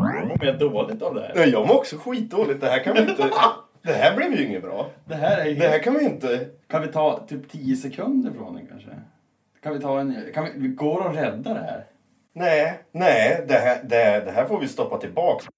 mår jag dåligt av det här. Nej, jag mår också skitdåligt. Det här kan vi inte... Det här blev ju inget bra. Det här är ju Det här kan vi inte... Kan vi ta typ 10 sekunder från den kanske? Kan vi ta en... Kan vi, går det att rädda det här? Nej, nej. Det här, det, här- det här får vi stoppa tillbaka.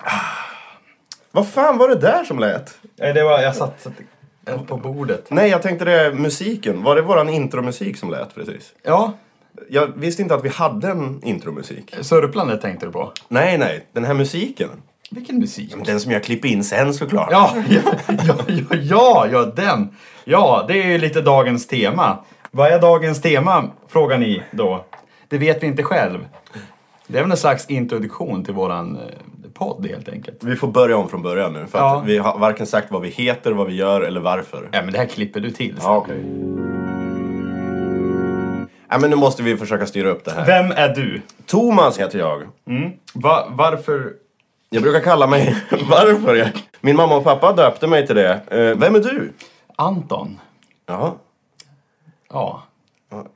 Ah, Vad fan var det där som lät? Nej, det var, jag satt på bordet. Nej, jag tänkte det musiken. Var det våran intromusik som lät precis? Ja, Jag visste inte att vi hade en intromusik. sörplandet tänkte du på. Nej, nej. Den här musiken. Vilken musik. Den som jag klipper in sen såklart. Ja, ja, ja, ja, ja, ja, den. Ja, det är ju lite dagens tema. Vad är dagens tema, frågar ni då? Det vet vi inte själv. Det är väl en slags introduktion till våran eh, podd helt enkelt. Vi får börja om från början nu. För Ja. att vi har varken sagt vad vi heter, vad vi gör eller varför. Ja, men det här klipper du till. Ja, okej. Nej, men nu måste vi försöka styra upp det här. Vem är du? Thomas heter jag. Va, varför? Jag brukar kalla mig... Varför? Jag... Min mamma och pappa döpte mig till det. Eh, vem är du? Anton. Jaha. Ja,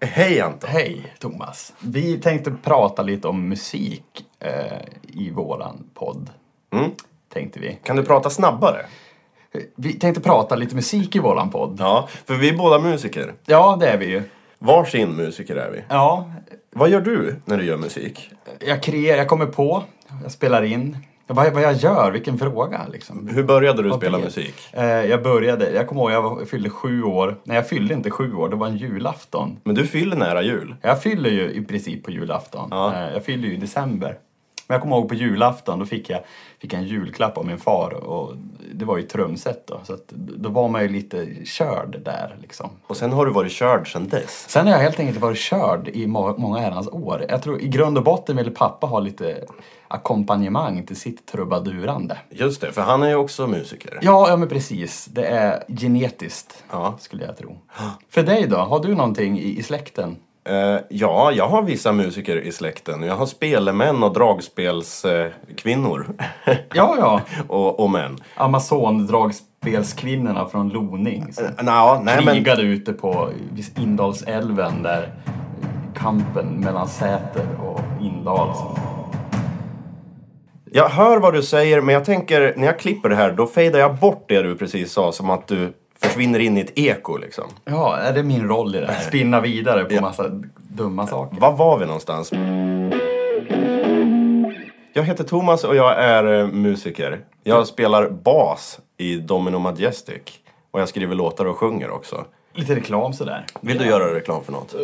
Hej Anton. hej Thomas. Vi tänkte prata lite om musik eh, i våran podd. Tänkte vi. Kan du prata snabbare? Vi tänkte prata lite musik i våran podd. Ja, för vi är båda musiker. Ja, det är vi ju. Varsin musiker är vi. Ja, Vad gör du när du gör musik? jag kreerar, jag kommer på, jag spelar in. Vad, vad jag gör, vilken fråga liksom. Hur började du spela vet? musik? Eh, jag började, jag kommer ihåg jag var- fyllde sju år. Nej, jag fyllde inte sju år, det var en julafton. Men du fyller nära jul. Jag fyller ju i princip på julafton. Ja. Eh, jag fyller ju i december. Men jag kommer ihåg på julafton, då fick jag, fick jag en julklapp av min far. Och det var ju ett trumset då, så att, då var man ju lite körd där liksom. Och sen har du varit körd sen dess. Sen har jag helt enkelt varit körd i må- många herrans år. Jag tror i grund och botten ville pappa ha lite ackompanjemang till sitt trubadurande. Just det, för han är ju också musiker. Ja, ja men precis. Det är genetiskt, Ja. skulle jag tro. För dig då? Har du någonting i, i släkten? Eh, ja, jag har vissa musiker i släkten. Jag har spelemän och dragspelskvinnor. Ja, ja. och, och män. Amazon-dragspelskvinnorna från Loning som Nå, nej, men, krigade ute på Indalsälven där kampen mellan Säter och Indal. som- jag hör vad du säger, men jag tänker när jag klipper det här då fejdar jag bort det du precis sa som att du försvinner in i ett eko liksom. Ja, är det min roll i det här? Spinna vidare på massa dumma saker. Var var vi någonstans? Jag heter Thomas och jag är eh, musiker. Jag spelar bas i Domino Majestic. Och jag skriver låtar och sjunger också. Lite reklam sådär. Vill du göra reklam för något?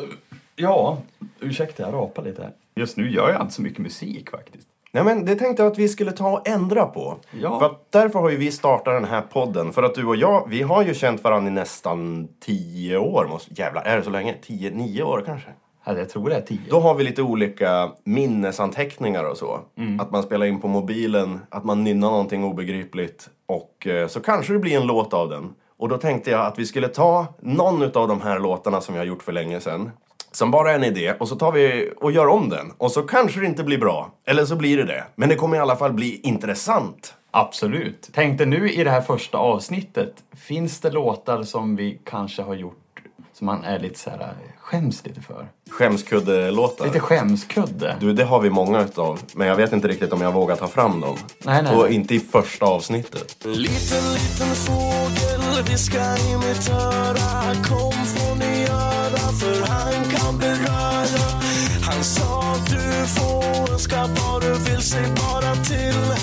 Ja, ursäkta jag rapar lite här. Just nu gör jag inte så mycket musik faktiskt. Nej men det tänkte jag att vi skulle ta och ändra på. Ja. För att därför har ju vi startat den här podden. För att du och jag, vi har ju känt varandra i nästan tio år. Måste, jävlar, är det så länge? Tio, nio år kanske? Ja, jag tror det är tio. Då har vi lite olika minnesanteckningar och så. Mm. Att man spelar in på mobilen, att man nynnar någonting obegripligt och eh, så kanske det blir en låt av den. Och då tänkte jag att vi skulle ta någon av de här låtarna som jag har gjort för länge sedan som bara är en idé och så tar vi och gör om den. Och så kanske det inte blir bra, eller så blir det det. Men det kommer i alla fall bli intressant. Absolut. Tänkte nu i det här första avsnittet, finns det låtar som vi kanske har gjort som man är lite så här, äh, skäms lite för? Skämskudde-låtar. Lite skämskudde. Du, det har vi många utav, men jag vet inte riktigt om jag vågar ta fram dem. Nej, nej. Och inte i första avsnittet. Liten, liten fågel viskar i mitt öra Kom får ni göra för han kan beröra Han sa du får önska vad du vill, säg bara till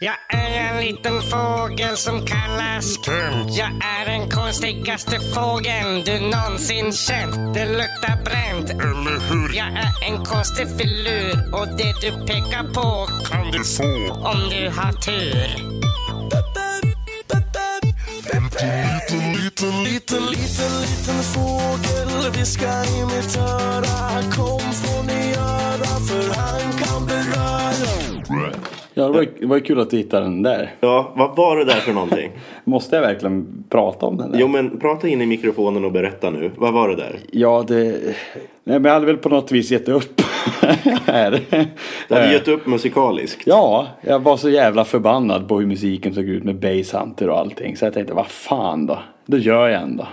Jag är en liten fågel som kallas Kent. Jag är den konstigaste fågeln du någonsin känt. Det luktar bränt, eller hur? Jag är en konstig filur och det du pekar på kan du få om du har tur. Liten, liten, liten, liten, liten fågel viskar i mitt öra Kom får ni göra för han kan beröra Ja, det var, ju- det var ju kul att du hittade den där. Ja, vad var det där för någonting? Måste jag verkligen prata om den där? Jo men prata in i mikrofonen och berätta nu. Vad var det där? Ja, det... Nej, men jag hade väl på något vis gett upp här. Du hade gett upp musikaliskt. Ja, jag var så jävla förbannad på hur musiken såg ut med basshunter och allting. Så jag tänkte, vad fan då? Det gör jag ändå.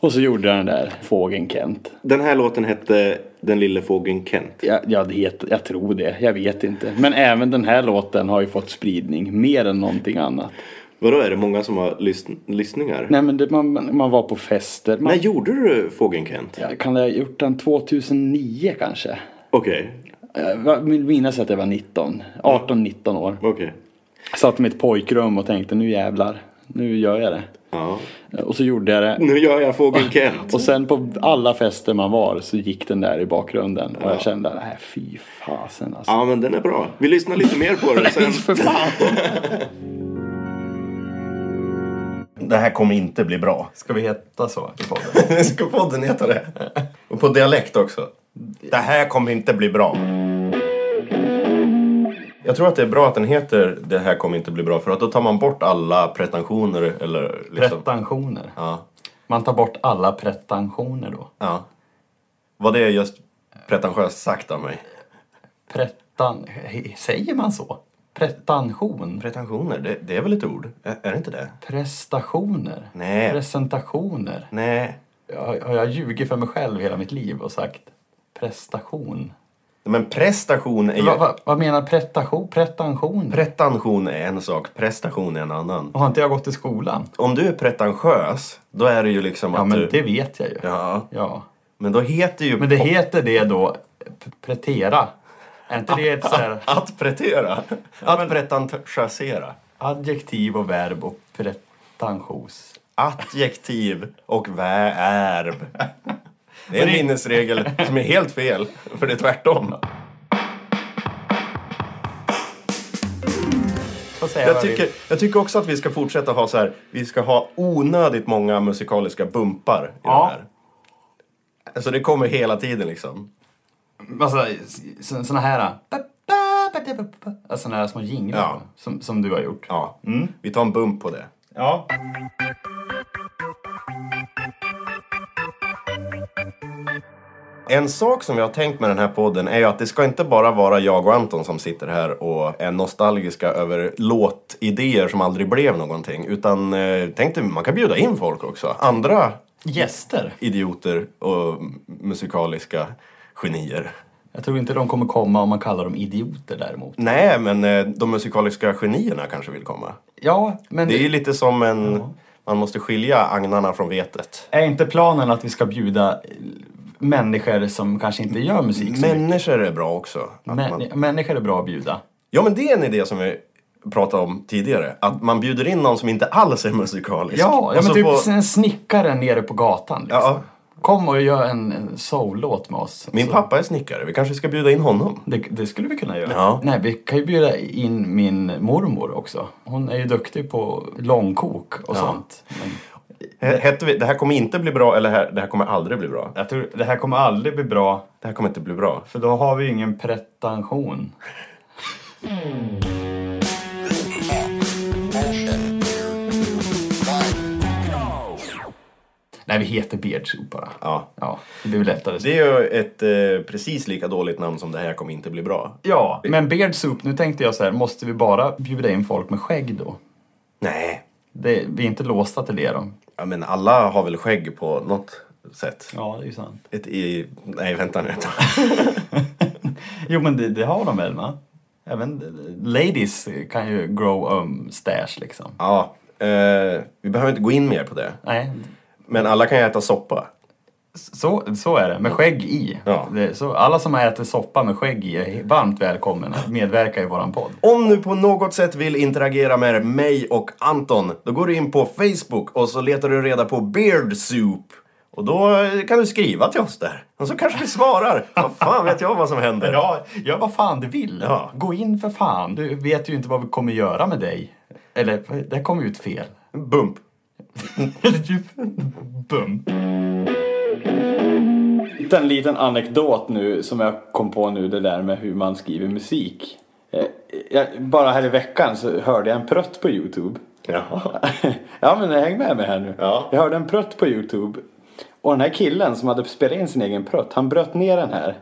och så gjorde jag den där fågeln Kent. Den här låten hette Den lille fågeln Kent. Jag, jag, het, jag tror det, jag vet inte. Men även den här låten har ju fått spridning, mer än någonting annat. Vadå, är det många som har lysn- lyssningar? Nej. Nej men det, man, man- man var på fester. Man, När gjorde du fågeln Kent? jag kan ha gjort den 2009 kanske. Okej, Jag vill minnas att jag var 19, 18-19 år. okej. Jag satt i mitt pojkrum och tänkte nu jävlar, nu gör jag det. Eh, Ja. Och så gjorde jag det. Nu gör jag fågeln Kent. Och sen på alla fester man var så gick den där i bakgrunden. Och jag kände, nej fy fasen alltså. Ja men den är bra. Vi lyssnar lite mer på den sen. För fan! Det här kommer inte bli bra. Ska vi heta så i podden? Ska podden heta det? Och på dialekt också. Det här kommer inte bli bra. Jag tror att det är bra att den heter Det här kommer inte bli bra för att då tar man bort alla pretensioner eller liksom. Pretensioner. Ja. Man tar bort alla pretensioner då. ja. Vad det är just pretentiöst sagt av mig. Pretan... he- Säger man så? Pretension? Pretensioner, det, det är väl ett ord? Är, är det inte det? Prestationer? Nej. Presentationer? Nej. Jag, har jag ljugit för mig själv hela mitt liv och sagt prestation? Men prestation är ju... Va, va, vad menar pretation? Pretension? Pretension är en sak, prestation är en annan. har inte jag gått i skolan? Om du är pretentiös, då är det ju liksom Ja, att men du... det vet jag ju. Ja, Ja. men då heter ju... Men det heter det då p- pretera? Är inte det ett så här Att pretera. Att pretentiösera. adjektiv och verb och pretentios? Adjektiv och verb. Det är Men en det- minnesregel som är helt fel, för det är tvärtom. Får säga Jag vad tycker, vill. jag tycker också att vi ska fortsätta ha så här, vi ska ha onödigt många musikaliska bumpar i Ja. den här. Så det kommer hela tiden liksom. Massa sådana här... Sådana här små jinglar Ja. som, som du har gjort. Ja, Mm. vi tar en bump på det. Ja. En sak som jag har tänkt med den här podden är ju att det ska inte bara vara jag och Anton som sitter här och är nostalgiska över låtidéer som aldrig blev någonting. Utan eh, tänk dig, man kan bjuda in folk också. Andra Gäster. idioter och m- musikaliska genier. Jag tror inte de kommer komma om man kallar dem idioter däremot. Nej, men eh, de musikaliska genierna kanske vill komma. Ja, men Det är ju lite som en... Man måste skilja agnarna från vetet. är inte planen att vi ska bjuda eh, människor som kanske inte gör musik? så mycket? Människor är bra också. Att man- Män, människor är bra att bjuda. Ja, men det är en idé som vi pratade om tidigare. Att man bjuder in någon som inte alls är musikalisk. Ja, Och ja men så typ får- en snickare nere på gatan. Liksom. alltså Ja. Kom och gör en, en soul-låt med oss. Min Så- pappa är snickare, vi kanske ska bjuda in honom. Det, det skulle vi kunna göra. Ja. Nej, vi kan ju bjuda in min mormor också. Hon är ju duktig på långkok och sånt. Men H- Hette vi, det här kommer inte bli bra eller här, det här kommer aldrig bli bra. jag tror det här kommer aldrig bli bra, Det här kommer inte bli bra. för då har vi ju ingen pretension. Nej, vi heter Beardsoup bara. Ja. Ja, det blir väl lättare. Det är ju ett eh, precis lika dåligt namn som det här kommer inte bli bra. Ja, men Beard Soup, nu tänkte jag så här, måste vi bara bjuda in folk med skägg då? Nej, Det, vi är inte låsta till det då. ja, men alla har väl skägg på något sätt. Ja, det är ju sant. Ett i... Nej, vänta nu. Jo, men det, det har de väl, va? Även eh, ladies kan ju grow um stash liksom. ja, eh, vi behöver inte gå in mer på det. Nej, Men alla kan ju äta soppa. så, så är det. Med skägg i. Ja. Det, så, alla som har ätit soppa med skägg i är varmt välkomna att medverka i våran podd. Om du på något sätt vill interagera med mig och Anton, då går du in på Facebook och så letar du reda på Beard Soup. Och då eh, kan du skriva till oss där. Och så kanske vi svarar. Vad fan vet jag vad som händer? Ja, gör vad fan du vill. Ja. Gå in för fan. Du vet ju inte vad vi kommer göra med dig. Eller, det kom ut fel. Bump. Bum. En liten anekdot nu som jag kom på nu det där med hur man skriver musik. Eh, jag, bara här i veckan så hörde jag en prutt på Youtube. Jaha. ja men häng med mig här nu. Ja. Jag hörde en prutt på Youtube. Och den här killen som hade spelat in sin egen prutt, han bröt ner den här.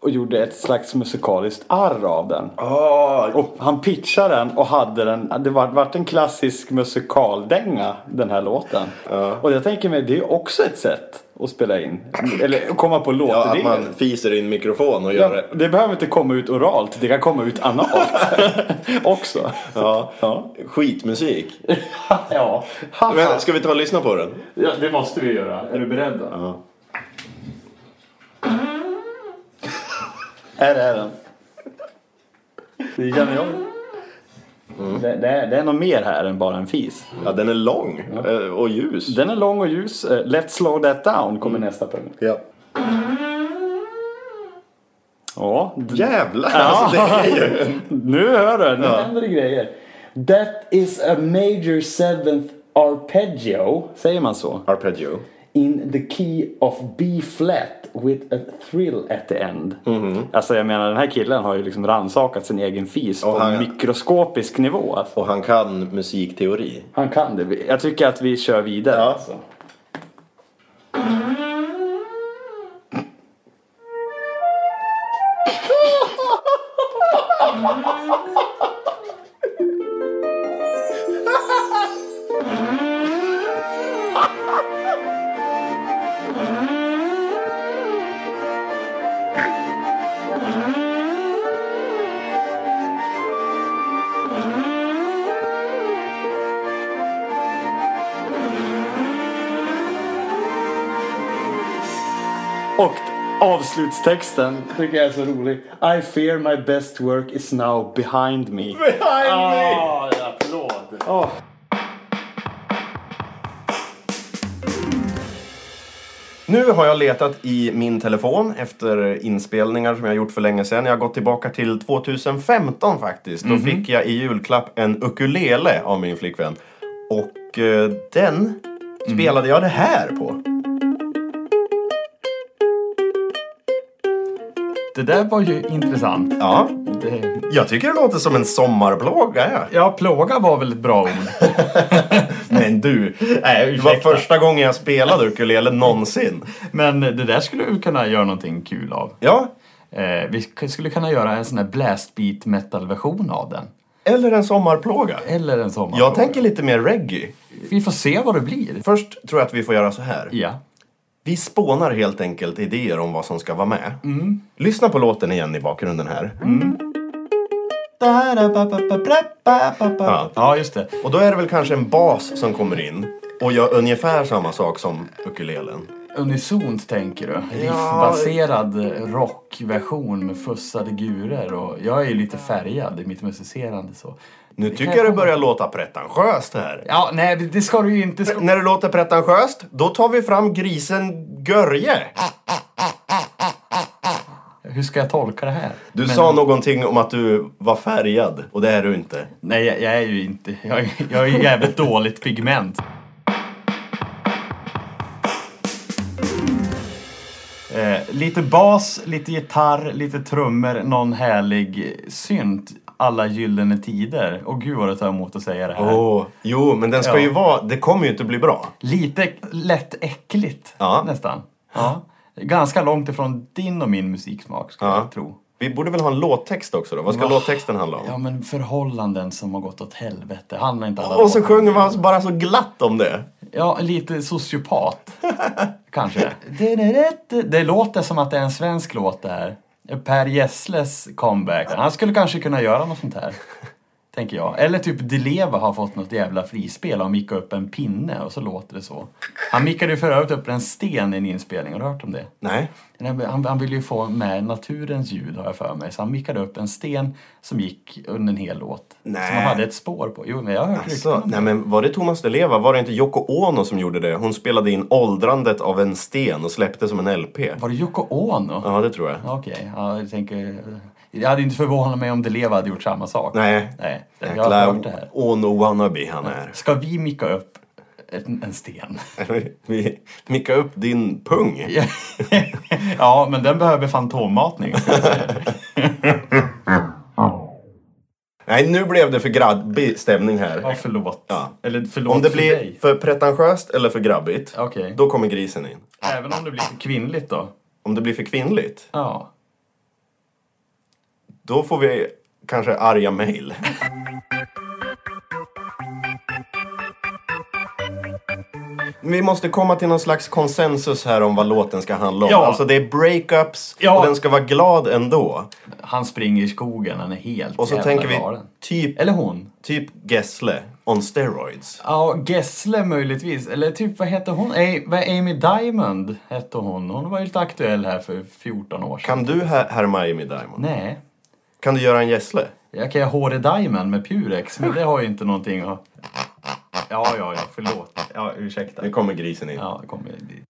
Och gjorde ett slags musikaliskt arr av den. Ah, Och han pitchade den och hade den, det vart var en klassisk musikaldänga den här låten. Och jag tänker mig, det är ju också ett sätt att spela in. Eller komma på ja, att låtidéer. man fiser i en mikrofon och Ja, gör det. det behöver inte komma ut oralt, det kan komma ut analt också. Ja. Ja. Skitmusik. Ja. Men ska vi ta och lyssna på den? ja, det måste vi göra. Är du beredd då? Ja. Här är den. Det känner jag. Det, det, är, det är något mer här än bara en fis. Ja, den är lång eh, och ljus. Den är lång och ljus. Eh, Let's slow that down kommer nästa punkt. Ja. Ja, d- Jävlar! Alltså, det är ju... nu hör du. Nu händer det grejer. That is a major seventh arpeggio, säger man så? Arpeggio. In the key of B-flat with a thrill at the end. Alltså jag menar den här killen har ju liksom rannsakat sin egen fis på Och han- en mikroskopisk nivå. Alltså. Och han kan musikteori. Han kan det. Vi- Jag tycker att vi kör vidare. Ja. Alltså. Och avslutstexten tycker jag är så rolig. I fear my best work is now behind me. Ah, applåd! Oh. Nu har jag letat i min telefon efter inspelningar som jag gjort för länge sedan. Jag har gått tillbaka till 2015 faktiskt. Då fick jag i julklapp en ukulele av min flickvän. Och eh, den spelade jag det här på. Det där var ju intressant. Ja, Det... jag tycker det låter som en sommarplåga. Ja. Ja, plåga var väl ett bra ord. Men du, Nej, det var första gången jag spelade ukulele någonsin. Men det där skulle vi kunna göra någonting kul av. Ja, Eh, vi sk- skulle kunna göra en sån här blastbeat metal-version av den. eller en sommarplåga. Eller en sommar. Jag tänker lite mer reggae. Vi får se vad det blir. Först tror jag att vi får göra så här. Ja. Vi spånar helt enkelt idéer om vad som ska vara med. Lyssna på låten igen i bakgrunden här. Ja. ja, just det. Och då är det väl kanske en bas som kommer in och gör ungefär samma sak som ukulelen. Unisont tänker du? Riffbaserad rockversion med fussade gurer och jag är ju lite färgad i mitt musicerande så. Nu tycker jag det börjar låta pretentiöst här. Ja, nej det ska du ju inte... Ska... När det låter pretentiöst, då tar vi fram grisen Görje. Ah, Hur ska jag tolka det här? Du sa någonting om att du var färgad och det är du inte. Nej, jag, jag är ju inte... Jag, är- jag är ju jävligt dåligt pigment. Eh, lite bas, lite gitarr, lite trummor, någon härlig synt. Alla gyllene tider. Och gud vad det tar emot att säga det här. Åh, jo, men den ska Ja. ju vara... Det kommer ju inte bli bra. Lite lätt äckligt Ja. nästan. Ja. Ganska långt ifrån din och min musiksmak skulle Ja. jag tro. Vi borde väl ha en låttext också då? Vad ska Va? låttexten handla om? Ja men förhållanden som har gått åt helvete. Handlar inte alla Och så låtar om sjunger det? man bara så glatt om det. Ja, lite sociopat. kanske. Det, det, det, det låter som att det är en svensk låt det här. Per Gessles comeback. Han skulle kanske kunna göra något sånt här. Tänker jag. Eller typ Dileva har fått något jävla frispel och mickat upp en pinne och så låter det så. Han mickade ju för övrigt upp en sten i en inspelning. Har du hört om det? Nej. Nej, men Han, han ville ju få med naturens ljud har jag för mig. Så han mickade upp en sten som gick under en hel låt. Nej. Som han hade ett spår på. Jo, men jag har hört rykten Alltså, om det. nej men var det Thomas Di Leva? Var det inte Yoko Ono som gjorde det? Hon spelade in åldrandet av en sten och släppte som en LP. Var det Yoko Ono? Ja, det tror jag. Ja, Okej, ja, jag tänker... Jag hade inte förvånat mig om Deleva hade gjort samma sak. Nej. Nej, jag har hört det Jäkla här. Ono-wannabe han är. Ska vi micka upp en, en sten? Vi mickar upp din pung. ja, men den behöver fantommatning. ska jag säga. Nej, nu blev det för grabbig stämning Ja, här. förlåt. Ja. Eller förlåt Om det för blir dig. för pretentiöst eller för grabbigt, Okej. då kommer grisen in. Även om det blir för kvinnligt då? Om det blir för kvinnligt, Ja. då får vi kanske arga mejl. Vi måste komma till någon slags konsensus här om vad låten ska handla om. Ja. Alltså det är breakups Ja. och den ska vara glad ändå. Han springer i skogen, han är helt Och så jävla tänker vi galen. typ, Eller hon. typ Gessle on steroids. Ja, Gessle möjligtvis. Eller typ, vad hette hon? A- vad Amy Diamond hette hon. Hon var ju lite aktuell här för 14 år sedan. Kan du här- härma Amy Diamond? Nej. Kan du göra en Gessle? Jag kan ju ha Håre Diamond med Purex, men det har ju inte någonting att... Ja, ja, ja, förlåt. Ja, ursäkta. Nu kommer grisen in. Ja, det kommer dit.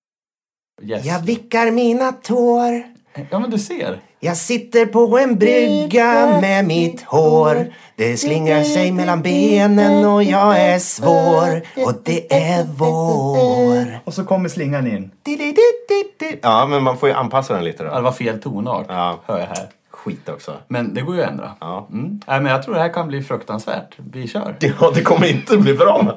Yes. vickar mina tår. Ja, men du ser. Jag sitter på en brygga med mitt hår. Det slingar sig mellan benen och jag är svår. Och det är vår. Och så kommer slingan in. Ja, men man får ju anpassa den lite Ja, Det då. var fel tonart, Ja. hör jag här. Skit också. Men det går ju att ändra. Ja. Mm. Nej, men jag tror det här kan bli fruktansvärt. Vi kör. Ja, det kommer inte bli bra.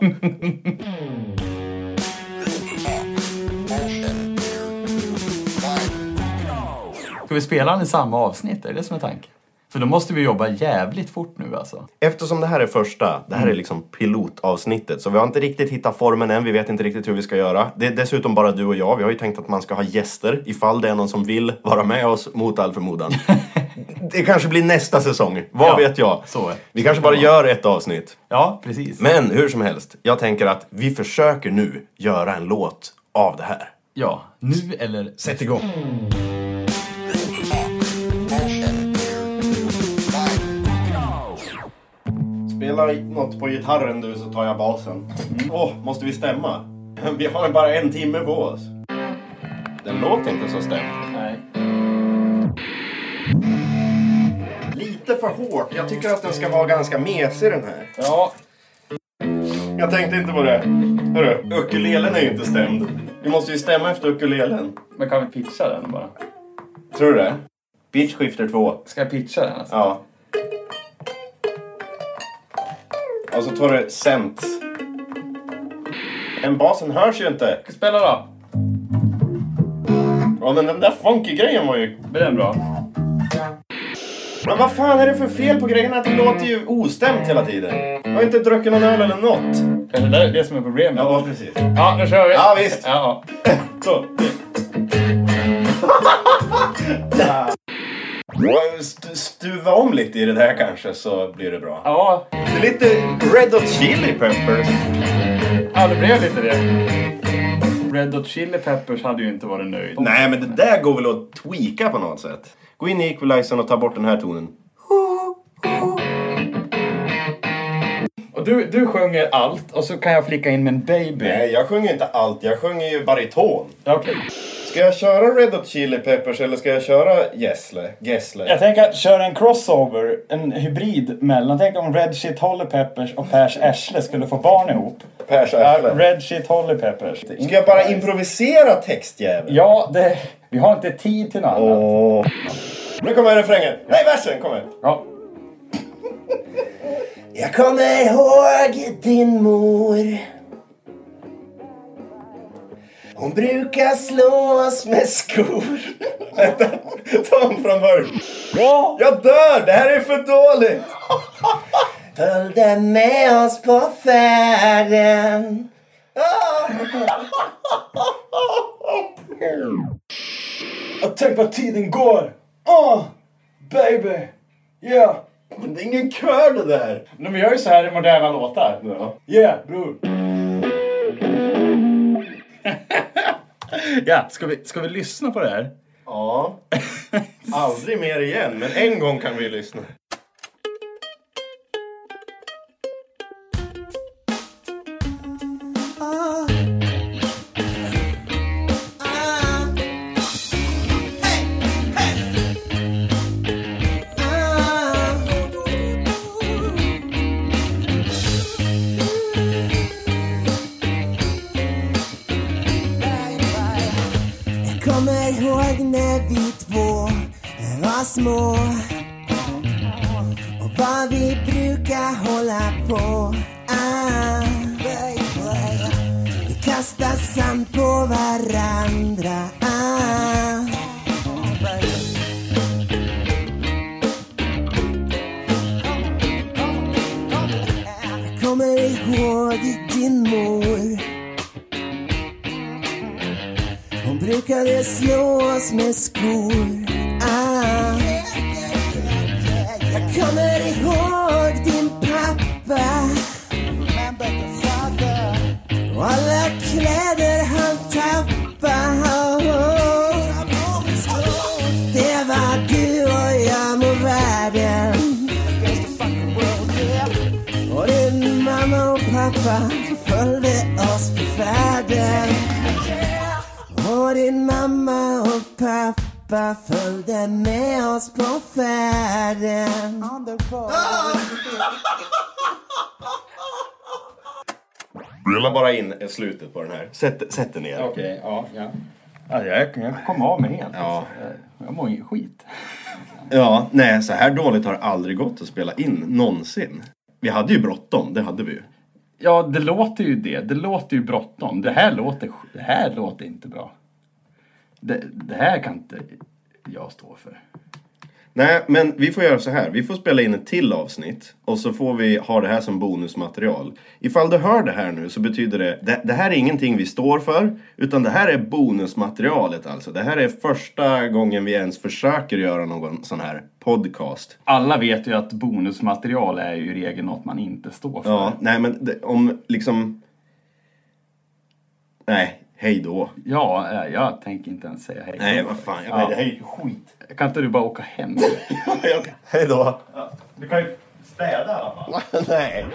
Ska vi spela den i samma avsnitt? Är det som är tanken? För då måste vi jobba jävligt fort nu alltså. Eftersom det här är första, det här är liksom pilotavsnittet, så vi har inte riktigt hittat formen än, vi vet inte riktigt hur vi ska göra. Det är dessutom bara du och jag, vi har ju tänkt att man ska ha gäster ifall det är någon som vill vara med oss mot all förmodan. det kanske blir nästa säsong, vad Ja, vet jag? så är det. Vi kanske bara gör ett avsnitt. Ja, precis. Men hur som helst, jag tänker att vi försöker nu göra en låt av det här. Ja, nu eller... Sätt igång! Spela något på gitarren du så tar jag basen. Mm. Åh, måste vi stämma? Vi har bara en timme på oss. Den låter inte så stämd. Nej. Lite för hårt. Jag tycker att den ska vara ganska mesig den här. Ja. Jag tänkte inte på det. Hörru, ukulelen är ju inte stämd. Vi måste ju stämma efter ukulelen. Men kan vi pitcha den bara? Tror du det? Bitch skifter två. Ska jag pitcha den alltså? Ja. Och så tar du cent. Men basen hörs ju inte. Spela då! Ja men den där funky grejen var ju... Blir den bra? Men vad fan är det för fel på grejen att det låter ju ostämt hela tiden? Jag har inte druckit någon öl eller något. Kanske det är det som är problemet. Ja precis. Ja, nu kör vi! Ja, visst. Ja. Så. St- Stuva om lite i det där kanske så blir det bra. Ja, Det är lite Red Hot Chili Peppers. ja det blev lite det. Red Hot Chili Peppers hade ju inte varit nöjd. Nej, men det där går väl att tweaka på något sätt. Gå in i equalizern och ta bort den här tonen. Och du, du sjunger allt och så kan jag flicka in med en baby. Nej, jag sjunger inte allt. Jag sjunger ju bariton. Ja, Okej. Ska jag köra Red Hot Chili Peppers eller ska jag köra Gessle? Gessle? Jag tänker att köra en crossover, en hybrid mellan. Tänk om Red Shit Holly Peppers och Pers Ashle skulle få barn ihop. Pers Ja, Ashle? Red Shit Holly Peppers. Ska jag bara improvisera textjäveln? Ja, det, vi har inte tid till något annat. Åh. Nu kommer refrängen. Nej, versen kommer. Ja. Jag kommer ihåg din mor Hon brukar slås med skor Vänta, ta om från början. Jag dör, det här är för dåligt! Följde med oss på färden Ah, Och tänk vad tiden går! Åh, baby! Yeah! Men det är ingen kör det där! De gör ju så här i moderna låtar. Ja. Yeah, bror! Ja, ska vi, ska vi lyssna på det här? ja. Aldrig mer igen, men en gång kan vi lyssna. Jag kommer ihåg när vi två var små och vad vi brukar hålla på ah. Vi kastar sand på varandra ah. Jag kommer ihåg din mor Hon brukade slå oss med skor ah. Jag kommer ihåg din pappa och alla kläder han tappade Det var du och jag mot världen och din mamma och pappa följde oss på färden Och din mamma och pappa följde med oss på färden Rulla bara in slutet på den här. Sätt, sätt den ner. Okej, ja, ja. Ja, jag, jag kom av mig helt. Ja. Jag mår ju skit. Ja, nej, så här dåligt har det aldrig gått att spela in någonsin. Vi hade ju bråttom, det hade vi ju. Ja, det låter ju det. Det låter ju bråttom. Det här låter, det här låter inte bra. Det, det här kan inte jag stå för. Nej, men vi får göra så här. Vi får spela in ett till avsnitt och så får vi ha det här som bonusmaterial. Ifall du hör det här nu så betyder det, det, det här är ingenting vi står för, utan det här är bonusmaterialet alltså. Det här är första gången vi ens försöker göra någon sån här podcast. Alla vet ju att bonusmaterial är ju i regel något man inte står för. Ja, nej men det, om liksom... Nej, hej då. Ja, eh, jag tänker inte ens säga hej. Nej, vad fan. Jag, Ja. Det här är ju skit. Kan inte du bara åka hem? Jag- hej då. Du kan ju städa i alla fall. Nej.